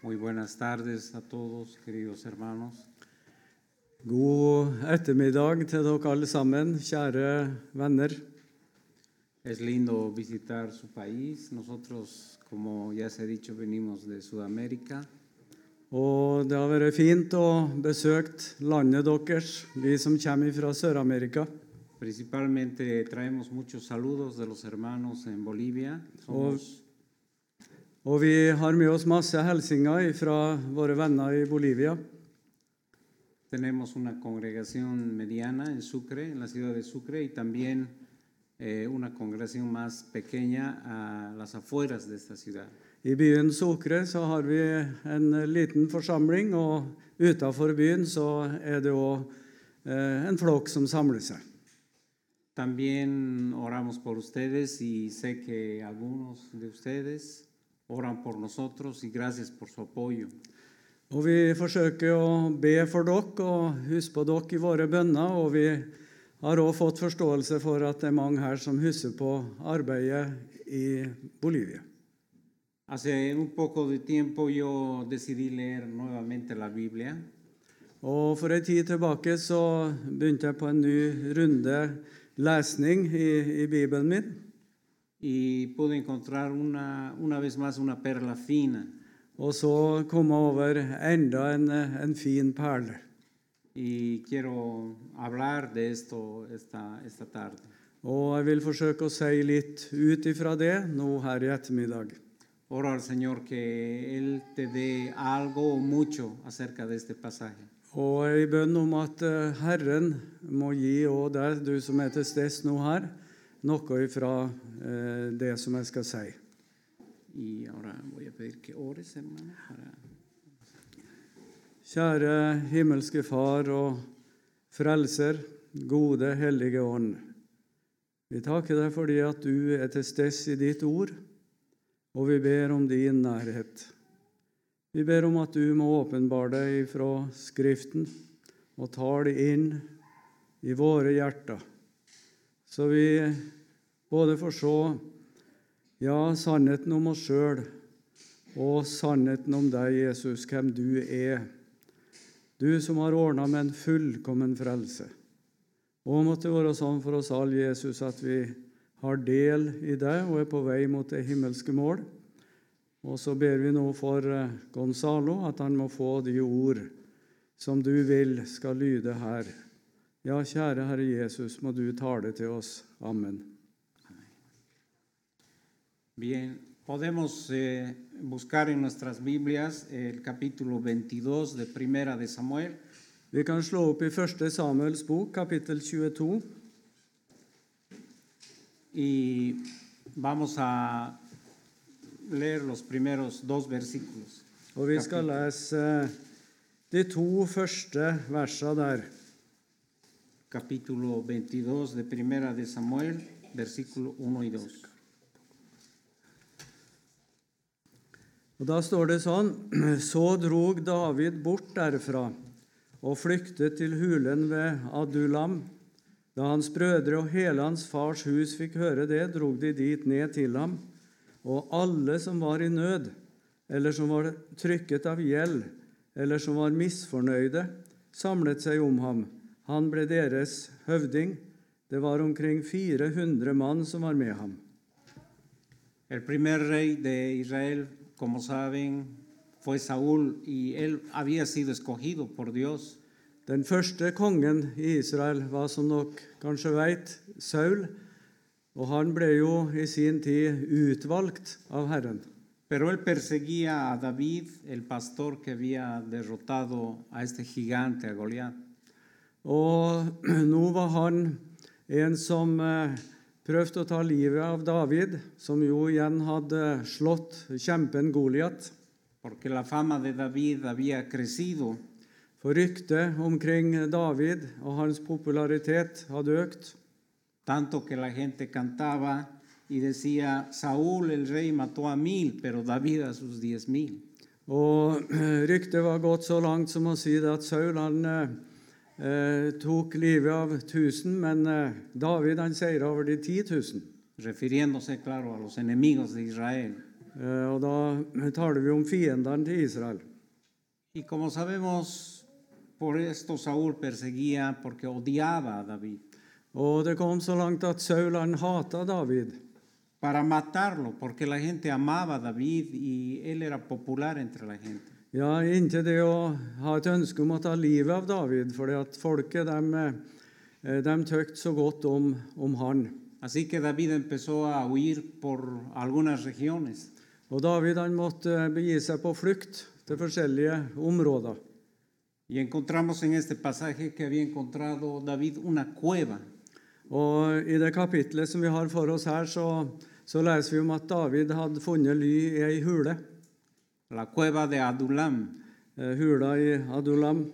Muy buenas tardes a todos, queridos hermanos. God ettermiddag til dere alle sammen, kjære venner. Es lindo visitar su país. Nosotros, como ya se ha dicho, venimos de Sudamérica. Og det har vært fint å besøke landet deres, vi som kommer fra Sør-Amerika. Principalmente traemos muchos saludos de los hermanos en Bolivia. Somos Og vi har med oss masse hilsener fra våre venner i Bolivia. Tenemos una congregación mediana en Sucre, en la ciudad de Sucre, y también eh, una congregación más pequeña a las afueras de esta ciudad. I byen Sokre så har vi en liten forsamling, og utafor byen så er det òg en flokk som samler seg. También oramos por ustedes y sé que algunos de ustedes oran por nosotros y gracias por su apoyo. Og vi forsøker å be for dere og huske på dere i våre bønner, og vi har òg fått forståelse for at det er mange her som husker på arbeidet i Bolivia. Hace un poco de tiempo yo decidí leer nuevamente la Biblia Og for en tid tilbake så begynte jeg på en ny runde lesning i, i Bibelen min. y pude encontrar una, una vez más una perla fina. Og så kom jeg over enda en, en fin perle. Y quiero hablar de esto esta, esta tarde. Og jeg vil forsøke å si litt ut ifra det nå her i ettermiddag. Oro al Señor que Él te dé algo o mucho acerca de este pasaje. Og jeg er i bønn om at eh, Herren må gi òg deg, du som er til stede nå her, noe ifra eh, det som jeg skal si. Y ahora voy a pedir que ores, hermano. para- Kjære himmelske Far og Frelser, gode Hellige Ånd. Vi takker deg fordi at du er til stede i ditt ord, og vi ber om din nærhet. Vi ber om at du må åpenbare deg fra Skriften og tar det inn i våre hjerter, så vi både får se ja, sannheten om oss sjøl og sannheten om deg, Jesus, hvem du er. Du som har ordna med en fullkommen frelse. Og måtte det være sånn for oss alle, Jesus, at vi har del i deg og er på vei mot det himmelske mål. Og så ber vi nå for eh, Gonzalo at han må få de ord som du vil skal lyde her. Ja, kjære Herre Jesus, må du tale til oss. Amen. Bien, podemos eh, buscar en nuestras Biblias el capítulo 22 de Primera de Samuel. Vi kan slå opp i 1. Samuels bok, kapittel 22. y vamos a leer los primeros dos versículos. Og vi skal lese eh, de to første versene der. Capítulo 22 de Primera de Samuel, versículo 1 y 2. Og Da står det sånn Så drog David bort derfra og flyktet til hulen ved Adulam. Da hans brødre og hele hans fars hus fikk høre det, drog de dit ned til ham. Og alle som var i nød, eller som var trykket av gjeld, eller som var misfornøyde, samlet seg om ham. Han ble deres høvding. Det var omkring 400 mann som var med ham. El primer rey de Israel, como saben, fue Saúl y él había sido escogido por Dios. Den første kongen i Israel var, som dere kanskje vet, Saul. Og han ble jo i sin tid utvalgt av Herren. Pero él perseguía a David, el pastor que había derrotado a este gigante, a Goliat. Og nå var han en som eh, prøvde å ta livet av David, som jo igjen hadde slått kjempen Goliat. Porque la fama de David había crecido For ryktet omkring David og hans popularitet hadde økt. Tanto que la gente cantaba y decía, Saúl el rey mató a mil, pero David a sus diez mil. Og eh, ryktet var gått så langt som å si det at Saul han eh, eh, tok livet av 1000, men eh, David han seira over de 10 000. Refiriéndose, claro, a los enemigos de Israel. Eh, Og da taler vi om fiendene til Israel. Y como sabemos, por esto Saúl perseguía porque odiaba a David, Og det kom så langt at Saul han hata David. para matarlo, porque la gente amaba a David y él era popular entre la gente. Ja, inntil det å ha et ønske om å ta livet av David, fordi at folket dem, eh, dem tøkt så godt om, om han. Así que David empezó a huir por algunas regiones. Og David han måtte eh, begi seg på flukt til forskjellige områder. Y encontramos en este pasaje que había encontrado David una cueva. Og i det kapitlet som vi har for oss her, så, så leser vi om at David hadde funnet ly i ei hule. la cueva de Adulam. eh, Hula i Adulam.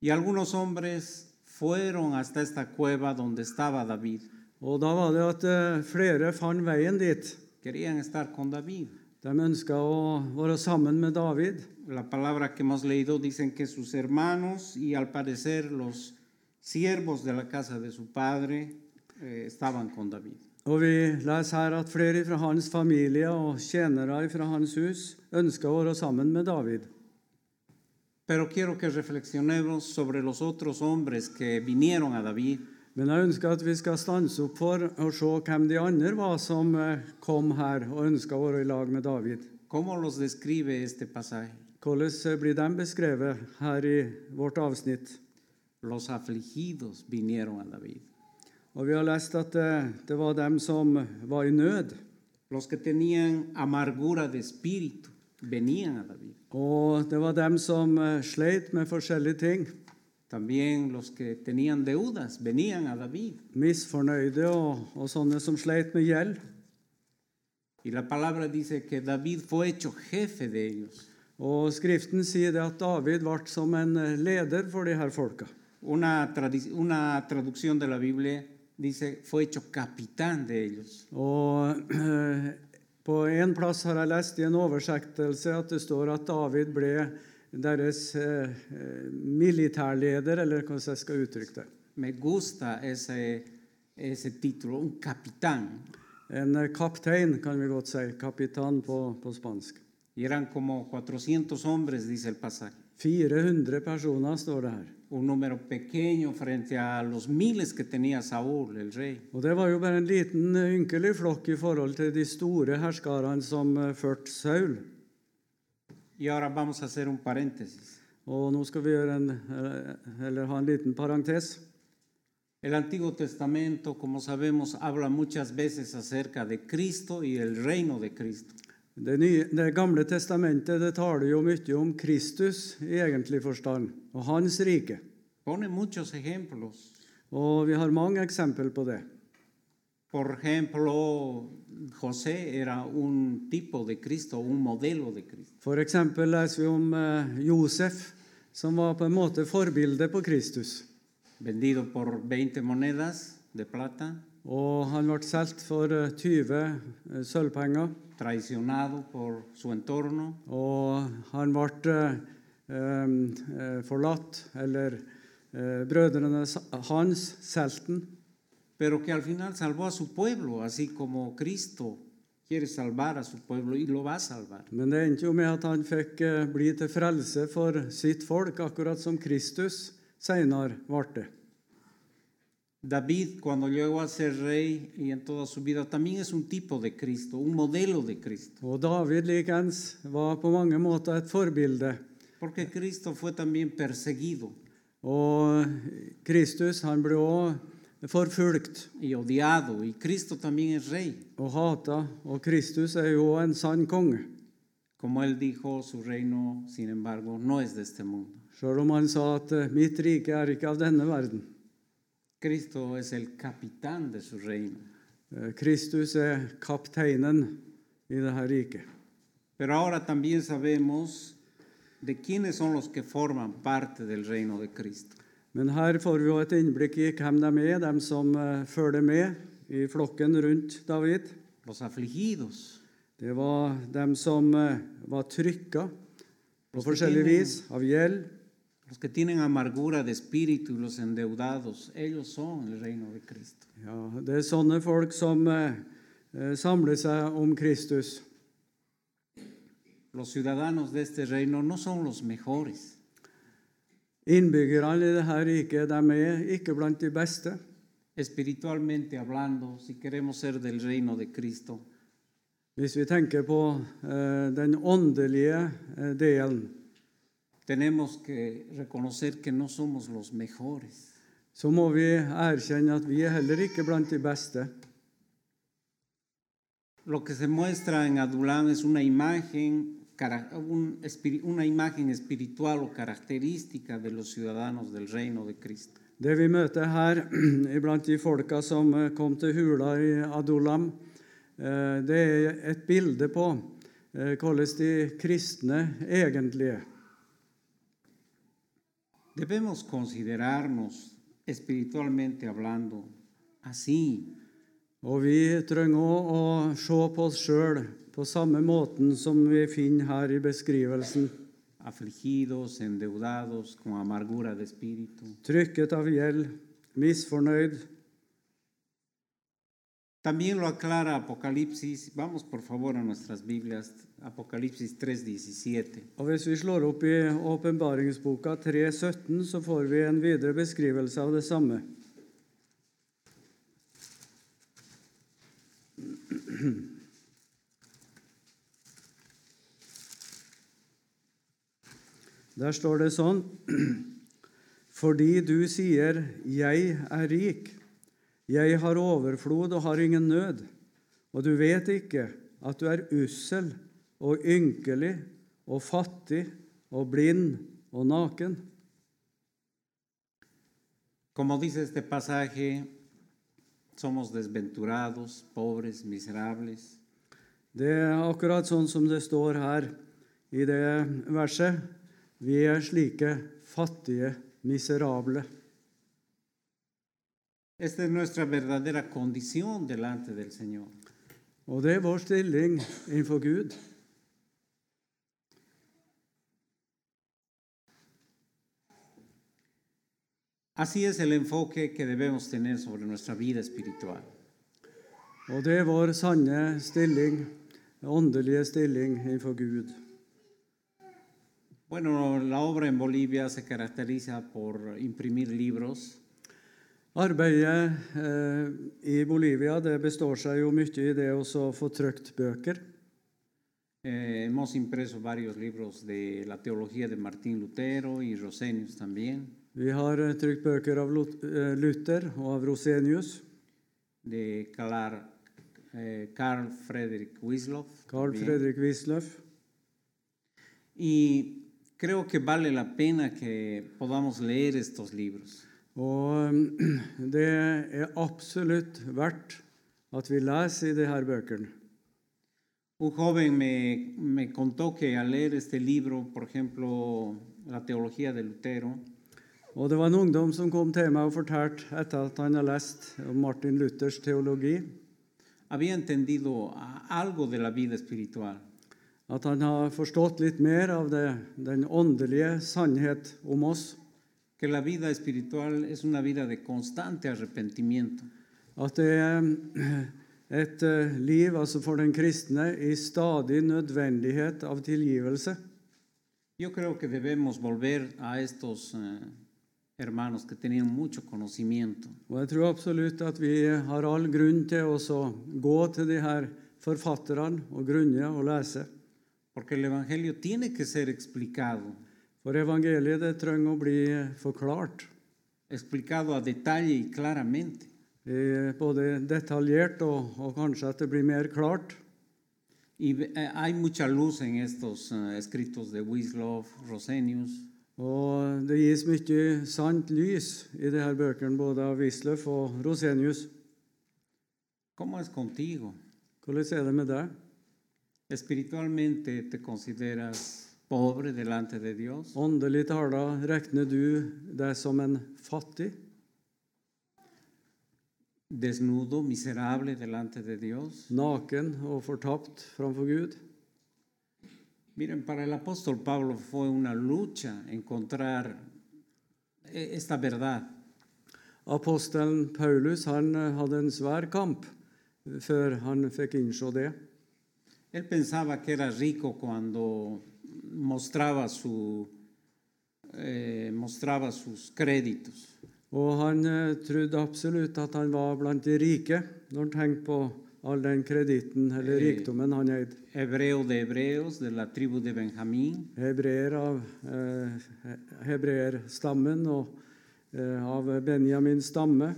Y algunos hombres fueron hasta esta cueva donde estaba David. Og da var det at eh, flere fant veien dit. Querían estar con David. De ønska å være sammen med David. La palabra que hemos leído dicen que sus hermanos y al parecer los siervos de la casa de su padre eh, estaban con David. Og vi leser her at flere fra hans familie og tjenere fra hans hus ønska å være sammen med David. Pero quiero que reflexionemos sobre los otros hombres que vinieron a David Men jeg ønsker at vi skal stanse opp for å se hvem de andre var som eh, kom her og ønska å være i lag med David. ¿Cómo los describe este pasaje? Hvordan eh, blir de beskrevet her i vårt avsnitt? Los afligidos vinieron a David. Og vi har lest at eh, det var dem som var i nød. Los que tenían amargura de espíritu venían a David. Og det var dem som eh, sleit med forskjellige ting. También los que tenían deudas venían a David. Misfornøyde og, og sånne som sleit med gjeld. Y la palabra dice que David fue hecho jefe de ellos. Og Skriften sier det at David ble som en eh, leder for de her folka. Una, tradi- una traducción de la Biblia dice fue hecho capitán de ellos. Og eh, på en plass har jeg lest i en oversettelse at det står at David ble deres eh, eh, militærleder, eller hvordan jeg skal uttrykke det. Me gusta ese, ese título, un capitán. En eh, kaptein, kan vi godt si. Kapitan på, på spansk. Y eran como 400 hombres, dice el pasaje. 400 personer står det her. Un número pequeño frente a los miles que tenía Saúl, el rey. Og det var jo bare en liten eh, ynkelig flokk i forhold til de store herskarene som eh, førte Saul. Y ahora vamos a hacer un paréntesis. Og nå skal vi gjøre en, eh, eller ha en liten parentes. El Antiguo Testamento, como sabemos, habla muchas veces acerca de Cristo y el reino de Cristo. Det, nye, det gamle testamentet det taler jo mye om Kristus i egentlig forstand, og hans rike. Pone muchos ejemplos. Og vi har mange eksempel på det. Por ejemplo, José era un tipo de Cristo, un modelo de Cristo. For eksempel leser vi om eh, Josef, som var på en måte forbildet på Kristus. Vendido por 20 monedas de plata, Og han ble solgt for eh, 20 sølvpenger, traicionado por su entorno, og han ble eh, eh, forlatt, eller eh, brødrene hans solgte han. pero que al final salvó a su pueblo, así como Cristo quiere salvar a su pueblo y lo va a salvar. Men det endte jo med at han fikk eh, bli til frelse for sitt folk, akkurat som Kristus senere ble det. David, cuando llegó a ser rey y en toda su vida, también es un tipo de Cristo, un modelo de Cristo, Og David likeens var på mange måter et forbilde. porque Cristo fue también perseguido Og Kristus han ble også forfulgt y odiado, y Cristo también es rey. og hata, og Kristus er jo en sann konge. Como él dijo, su reino, sin embargo, no es de este mundo. Selv om han sa at eh, 'mitt rike er ikke av denne verden'. Cristo es el capitán de su reino. Eh, Kristus er kapteinen i dette riket. Pero ahora también sabemos de quiénes son los que forman parte del reino de Cristo. Men her får vi jo et innblikk i hvem de er, de som eh, følger med i flokken rundt David. Los afligidos, Det var dem som eh, var trykka på forskjellig vis av gjeld. los que tienen amargura de espíritu y los endeudados, ellos son el reino de Cristo. Ja, det er sånne folk som eh, eh, samler seg om Kristus. los ciudadanos de este reino no son los mejores. Innbyggerne i dette riket de er ikke blant de beste. Espiritualmente hablando, si queremos ser del reino de Cristo, Hvis vi tenker på eh, den åndelige eh, delen, tenemos que reconocer que no somos los mejores. så må vi erkjenne at vi er heller ikke blant de beste. Lo que se muestra en Adulán es una imagen, cara- un espiri- una imagen espiritual o característica de los ciudadanos del reino de Cristo. Det vi møter her iblant de folka som eh, kom til hula i Adulam, eh, det er et bilde på eh, hvordan de kristne egentlig er. Debemos considerarnos espiritualmente hablando así. Og vi trenger òg å se på oss sjøl på samme måten som vi finner her i beskrivelsen. afligidos, endeudados, con amargura de espíritu. Trykket av gjeld, misfornøyd. También lo aclara Apocalipsis, vamos por favor a nuestras Biblias, Apocalipsis 3:17. Og Hvis vi slår opp i åpenbaringsboka 3.17, så får vi en videre beskrivelse av det samme. Der står det sånn Fordi du sier, 'Jeg er rik', 'jeg har overflod og har ingen nød', og du vet ikke at du er ussel og ynkelig og fattig og blind og naken. Como dice este pasaje, somos desventurados, pobres, miserables, Det er akkurat sånn som det står her i det verset. Vi er slike fattige, miserable. Esta es nuestra verdadera condición delante del Señor. Og det er vår stilling innenfor Gud. Así es el enfoque que debemos tener sobre nuestra vida espiritual. Og det er vår sanne stilling, åndelige stilling innenfor Gud. Bueno, la obra en Bolivia se caracteriza por imprimir libros Arbeidet eh, i Bolivia det består seg jo mye i det også å få trykt bøker. Eh, hemos impreso varios libros de la teología de Martín Lutero y Rosenius también, Vi har eh, trykt bøker av Lut- eh, Luther og av Rosenius. de Carl, eh, Carl Frederick Wisloff. Carl también. Fredrik Wisløff. Y creo que vale la pena que podamos leer estos libros. Og eh, det er absolutt verdt at vi leser i de her bøkene. Un joven me, me contó que al leer este libro, por ejemplo, la teología de Lutero, Og det var en ungdom som kom til meg og fortalte etter at han har lest om Martin Luthers teologi, había entendido a- algo de la vida espiritual. at han har forstått litt mer av det, den åndelige sannhet om oss. que la vida espiritual es una vida de constante arrepentimiento. At det er et eh, liv altså for den kristne i stadig nødvendighet av tilgivelse. Yo creo que debemos volver a estos eh, hermanos que tenían mucho conocimiento, Og jeg tror absolutt at vi har all grunn til også å gå til de her forfatterne og grunne og lese. porque el Evangelio tiene que ser explicado, For evangeliet det trenger å bli forklart, explicado a detalle y claramente. eh, både detaljert og, og kanskje at det blir mer klart. Y eh, hay mucha luz en estos eh, escritos de Wislaw, Rosenius. Og det gis mye sant lys i de her bøkene, både av Wisløff og Rosenius. ¿Cómo es contigo? Hvordan er det med deg? ¿Espiritualmente te consideras pobre delante de Dios? Åndelig tala, regner du deg som en fattig, ¿Desnudo, miserable delante de Dios? naken og fortapt framfor Gud? Miren, para el apóstol Pablo fue una lucha encontrar eh, esta verdad. Apostelen Paulus han eh, hadde en svær kamp før han fikk innse det. Él pensaba que era rico cuando mostraba, su, eh, mostraba sus créditos. Og han eh, trodde absolutt at han var blant de rike, når han tenkte på all den kreditten eller Eh. rikdommen han eide. Hebreo de hebreos, de la tribu de Benjamín, Hebreer av eh, he- hebreerstammen og eh, av Benjamins stamme.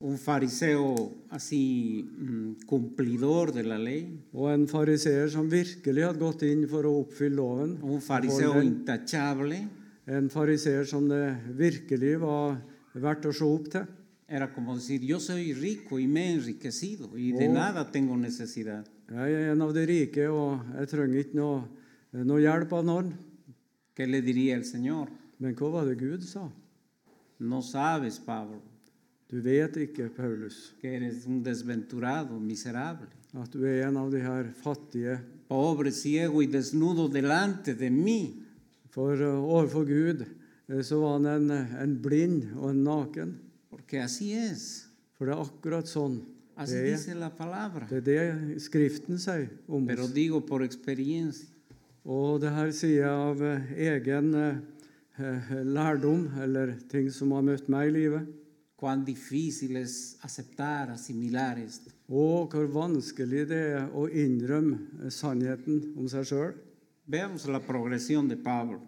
un fariseo así mm, cumplidor de la ley, Og en fariseer som virkelig hadde gått inn for å oppfylle loven. un fariseo Holden. intachable, En fariseer som det virkelig var verdt å se opp til. era como decir, yo soy rico y me he enriquecido y de Oh. nada tengo necesidad. Jeg er en av de rike, og jeg trenger ikke noe, noe hjelp av noen. ¿Qué le diría el Señor? Men hva var det Gud sa? No sabes, Pablo, Du vet ikke, Paulus, que eres un desventurado, miserable, at du er en av de her fattige. pobre, ciego y desnudo delante de mí. For eh, overfor Gud eh, så var han en, en blind og en naken. Porque así es, For det er akkurat sånn. así Det er dice la palabra. det, er det Skriften sier om Pero oss. digo por experiencia. Og det her sier jeg av eh, egen eh, eh, lærdom, eller ting som har møtt meg i livet. Cuán difícil es aceptar, asimilar esto. Og hvor vanskelig det er å innrømme eh, sannheten om seg sjøl. Veamos la progresión de Pablo.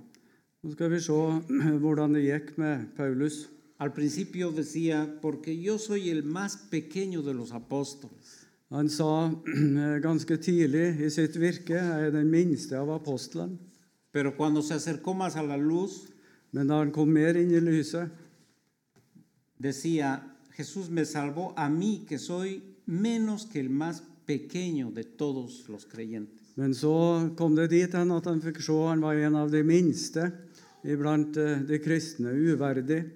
Nå skal vi se hvordan det gikk med Paulus. Al principio decía, porque yo soy el más pequeño de los apóstoles. Han sa eh, ganske tidlig i sitt virke jeg er den minste av apostlene. Pero cuando se acercó más a la luz, Men da han kom mer inn i lyset, decía, Jesús me salvó a mí, que soy menos que el más pequeño de todos los creyentes. men så kom det dit hen at han fikk se han var en av de minste iblant eh, de kristne, uverdig.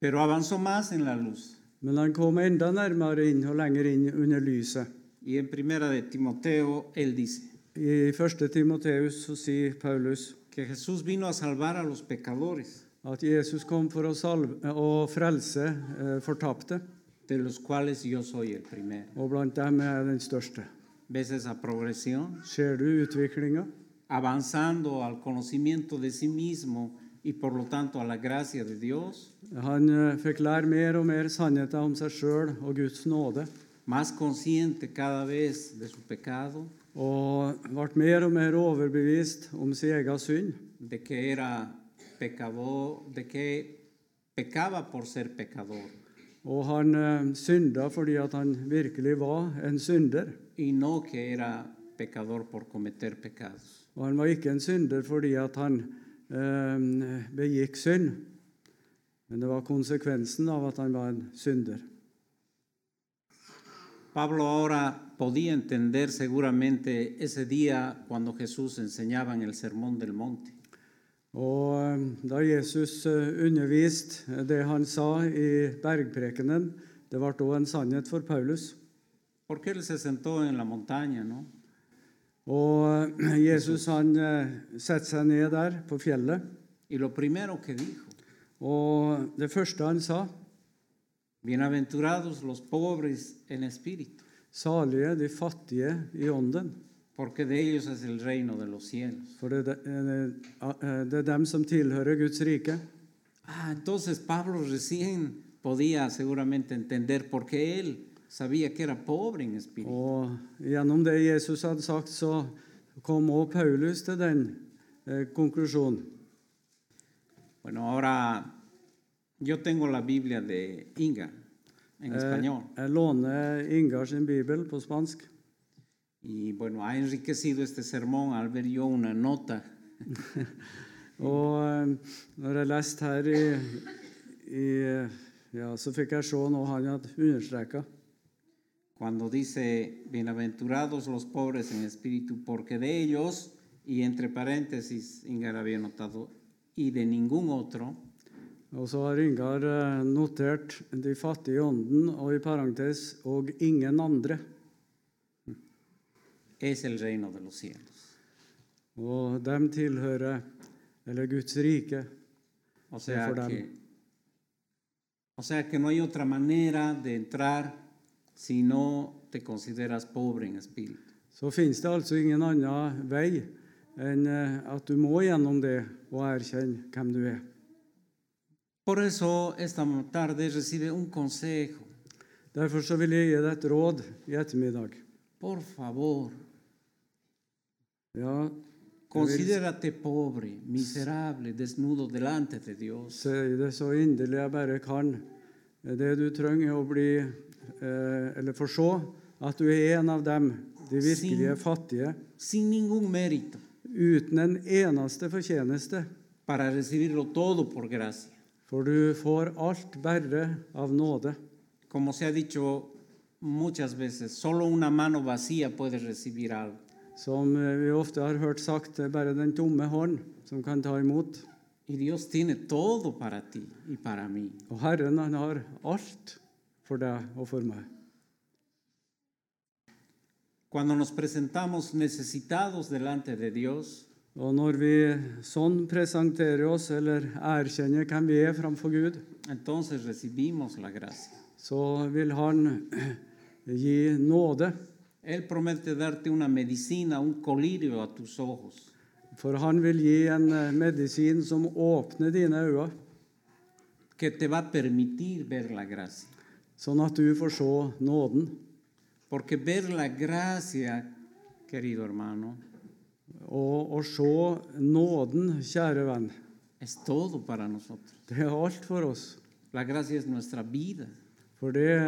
Pero avanzó más en la luz. Men han kom enda nærmere inn og lenger inn under lyset. Y en primera de Timoteo, él dice I 1. Timoteus så sier Paulus que Jesús vino a salvar a los pecadores, at Jesus kom for å, salve, eh, å frelse eh, fortapte, de los cuales yo soy el primero. og blant dem er jeg den største. ¿Ves esa progresión? Ser du utviklinga? avanzando al conocimiento de sí mismo y por lo tanto a la gracia de Dios, Han eh, fikk lære mer og mer sannheter om seg sjøl og Guds nåde, más consciente cada vez de su pecado, og ble mer og mer overbevist om sin egen synd, de que era pecador, de que pecaba por ser pecador og han eh, synda fordi at han virkelig var en synder. y no que era pecador por cometer pecados. Og han var ikke en synder fordi at han eh, begikk synd, men det var konsekvensen av at han var en synder. Pablo ahora podía entender seguramente ese día cuando Jesús enseñaba en el Sermón del Monte. Og eh, da Jesus eh, underviste eh, det han sa i bergprekenen, det ble også en sannhet for Paulus. Porque él se sentó en la montaña, ¿no? Og eh, Jesus han eh, setter seg ned der på fjellet, Y lo primero que dijo, og det første han sa, Bienaventurados los pobres en espíritu, salige de fattige i ånden, porque de ellos es el reino de los cielos. for det, er de- eh, det er dem som tilhører Guds rike. Ah, entonces Pablo recién podía seguramente entender porque él sabía que era pobre en espíritu. Og gjennom det Jesus hadde sagt, så kom også Paulus til den eh, konklusjonen. Bueno, ahora yo tengo la Biblia de Inga Eh, en español Jeg låner Ingar sin bibel på spansk. y bueno, ha enriquecido este sermón al ver yo una nota Og eh, når jeg leste her i, i eh, ja, Så fikk jeg se noe han hadde understreka. cuando dice, bienaventurados los pobres en espíritu, porque de ellos, y entre paréntesis, Ingar había notado, y de ningún otro, Og så har Ingar eh, notert 'de fattige i ånden' og i parentes 'og ingen andre'. es el reino de los cielos. Og dem tilhører eller Guds rike. O sea, Fordham. que, o sea que no hay otra manera de entrar si no te consideras pobre en espíritu. så finnes det altså ingen annen vei enn eh, at du må gjennom det og erkjenne hvem du er. Por eso esta tarde recibe un consejo. Derfor så vil jeg gi deg et råd i ettermiddag. Por favor, Ja, considérate pobre, miserable, desnudo delante de Dios. si det så inderlig jeg bare kan. Det du trenger er å bli eh, Eller få se at du er en av dem, de virkelige fattige, sin ningún mérito, uten en eneste fortjeneste. para recibirlo todo por gracia. For du får alt bare av nåde. Como se ha dicho muchas veces, solo una mano vacía puede recibir algo. Som eh, vi ofte har hørt sagt, det er bare den tomme hånd som kan ta imot. Y Dios tiene todo para ti y para mí. Og Herren, han har alt for deg og for meg. Cuando nos presentamos necesitados delante de Dios, Og når vi sånn presenterer oss, eller erkjenner hvem vi er framfor Gud, entonces recibimos la gracia. så vil Han gi nåde. Él promete darte una medicina, un colirio a tus ojos. For Han vil gi en eh, medisin som åpner dine øyne, que te va a permitir ver la gracia. sånn at du får se nåden. Porque ver la gracia, querido hermano, Og å se nåden, kjære venn, es todo para nosotros. det er alt for oss. La gracia es nuestra vida, For det,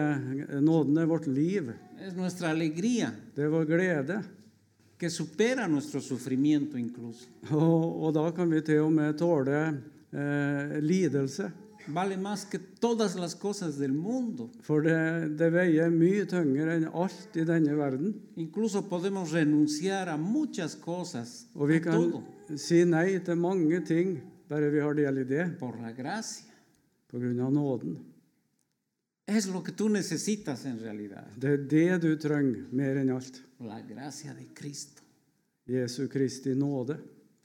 nåden er eh, vårt liv. es nuestra alegría, Det er vår glede. que supera nuestro sufrimiento incluso. Og, og da kan vi til og med tåle eh, lidelse. Vale más que todas las cosas del mundo. For det, det veier mye tyngre enn alt i denne verden. Incluso podemos renunciar a muchas cosas, Og vi a kan todo, si nei til mange ting bare vi har del i det, por la gracia. på grunn av nåden. Es lo que tú necesitas en realidad, Det er det du trenger mer enn alt. la gracia de Cristo. Jesu Kristi nåde.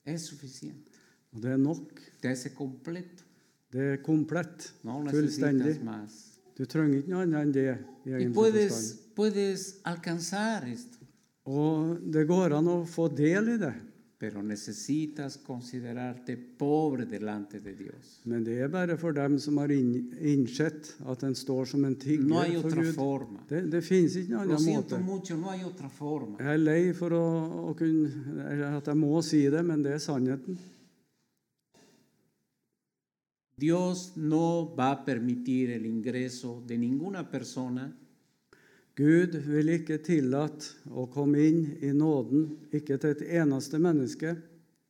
Es suficiente, Og det er nok. te hace completo. Det er komplett. No Fullstendig. necesitas más. Du trenger ikke noe annet enn det. Y i egentlig forstand. puedes, puedes alcanzar esto, Og det går an å få del i det. pero necesitas considerarte pobre delante de Dios. Men det er bare for dem som har inn, innsett at en står som en tigger No hay for otra Gud. forma. Det, det finnes ikke noen Lo annen siento måte. mucho, no hay otra forma. Jeg er lei for å, å kunne, eller at jeg må si det, men det er sannheten. Dios no va a permitir el ingreso de ninguna persona Gud vil ikke tillate å komme inn i nåden, ikke til et eneste menneske,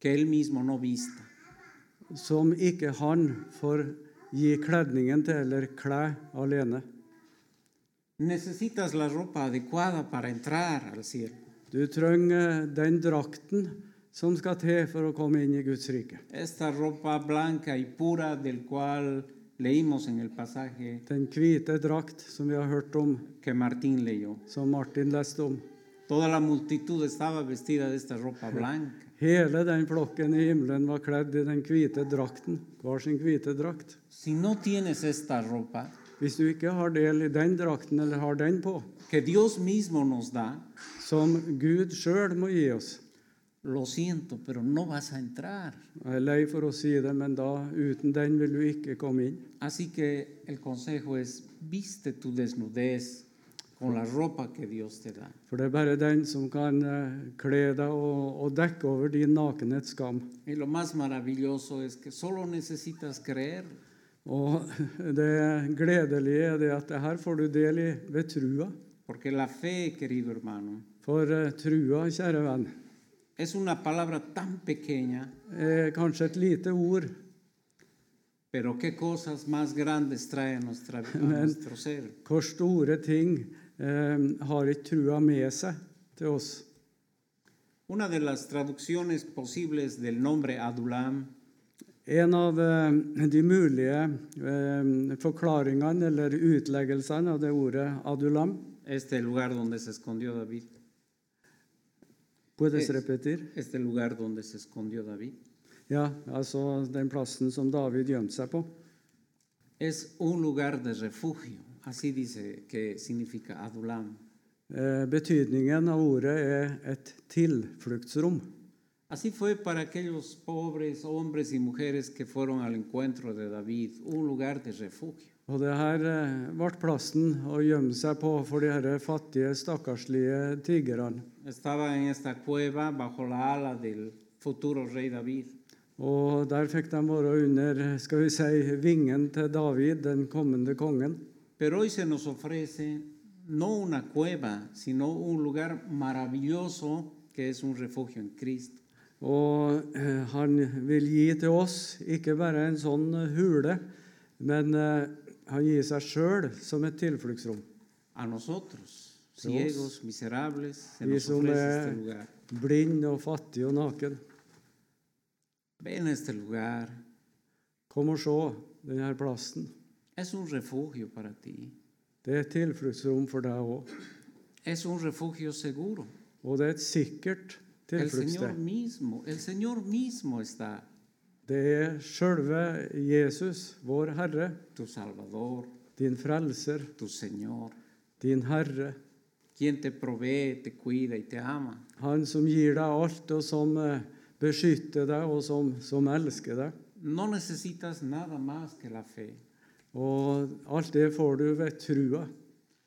que Él mismo no vista. som ikke han får gi kledningen til eller kle alene. Necesitas la ropa adecuada para entrar al cielo. Du trenger den drakten som skal til for å komme inn i Guds rike. Esta ropa blanca y pura del cual leímos en el pasaje Den hvite drakt som vi har hørt om, que Martín leyó. som Martin leste om. Toda la multitud estaba vestida de esta ropa blanca. Hele den flokken i himmelen var kledd i den hvite drakten, hver sin hvite drakt. Si no tienes esta ropa Hvis du ikke har del i den drakten, eller har den på, que Dios mismo nos da, som Gud sjøl må gi oss lo siento, pero no vas a entrar. Jeg er lei for å si det, men da uten den vil du ikke komme inn. Así que el consejo es, viste tu desnudez con la ropa que Dios te da. For det er bare den som kan eh, kle deg og, og dekke over din nakenhets skam. Y lo más maravilloso es que solo necesitas creer. Og det gledelige er det at det her får du del i ved trua. Porque la fe, querido hermano, For eh, trua, kjære venn, es una palabra tan pequeña, er kanskje et lite ord, pero qué cosas más grandes trae a, nuestra, a nuestro ser. Hvor store ting eh, har ikke trua med seg til oss? Una de las traducciones posibles del nombre Adulam En av eh, de mulige eh, forklaringene eller utleggelsene av det ordet adulam Este lugar donde se escondió David. Puedes repetir? Este lugar donde se escondió David. Ja, altså den plassen som David gjemte seg på. Es un lugar de refugio. Así dice que significa Adulam. Eh, Betydningen av ordet er et tilfluktsrom. Así fue para aquellos pobres hombres y mujeres que fueron al encuentro de David, un lugar de refugio. Og det her eh, ble plassen å gjemme seg på for de her fattige, stakkarslige tiggerne. Estaba en esta cueva bajo la ala del futuro rey David. Og der fikk de være under skal vi si, vingen til David, den kommende kongen. Pero hoy se nos ofrece no una cueva, sino un lugar maravilloso que es un refugio en Cristo. Og eh, han vil gi til oss ikke bare en sånn hule, men eh, han gir seg sjøl som et tilfluktsrom. A nosotros, ciegos, miserables, se Y nos eso ofrece me- este lugar. Blind og fattig og naken. Ven a este lugar. Kom og se denne plassen. Es un refugio para ti. Det er et tilfluktsrom for deg òg. Es un refugio seguro. Og det er et sikkert El Señor tilfluktssted. mismo, el Señor mismo está, Det er sjølve Jesus, vår Herre, tu Salvador, din frelser, tu Señor, din Herre. quien te provee, te cuida y te ama. Han som gir deg alt, og som eh, beskytter deg, og som, som elsker deg. No necesitas nada más que la fe. Og alt det får du ved trua,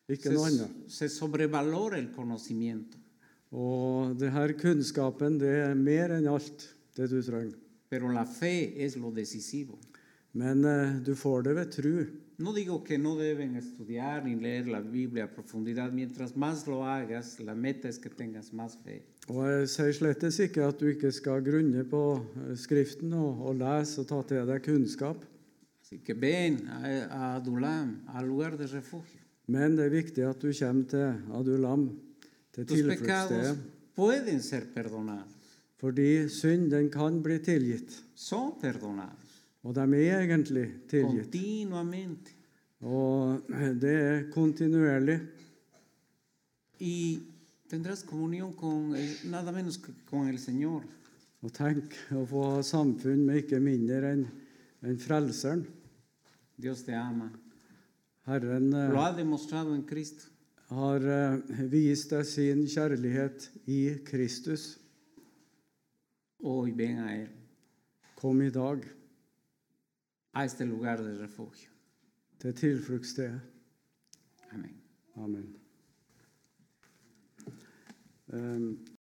ikke Se, noe annet. se sobrevalora el conocimiento, Og det her kunnskapen, det er mer enn alt det du trenger. pero la fe es lo decisivo. Men eh, du får det ved tru. No digo que no deben estudiar ni leer la Biblia a profundidad. Mientras más lo hagas, la meta es que tengas más fe. Og jeg sier slettes ikke at du ikke skal grunne på eh, Skriften og, og lese og ta til deg kunnskap. Así que ven a, a Adulam, al lugar de refugio. Men det er viktig at du kommer til Adulam, til Tus pecados tilfluktsstedet. pueden ser perdonados, Fordi synd, den kan bli tilgitt. son perdonados Og de er egentlig tilgitt. continuamente. Og det er kontinuerlig. Y tendrás comunión con el- nada menos que con el Señor. Og tenk å få ha samfunn med ikke mindre enn enn Frelseren. Dios te ama. Herren eh, Lo ha demostrado en Cristo. har eh, vist deg sin kjærlighet i Kristus. Hoy ven a Él, Kom i dag a este lugar de refugio. til tilfluktsstedet. Amén. Amen. Um,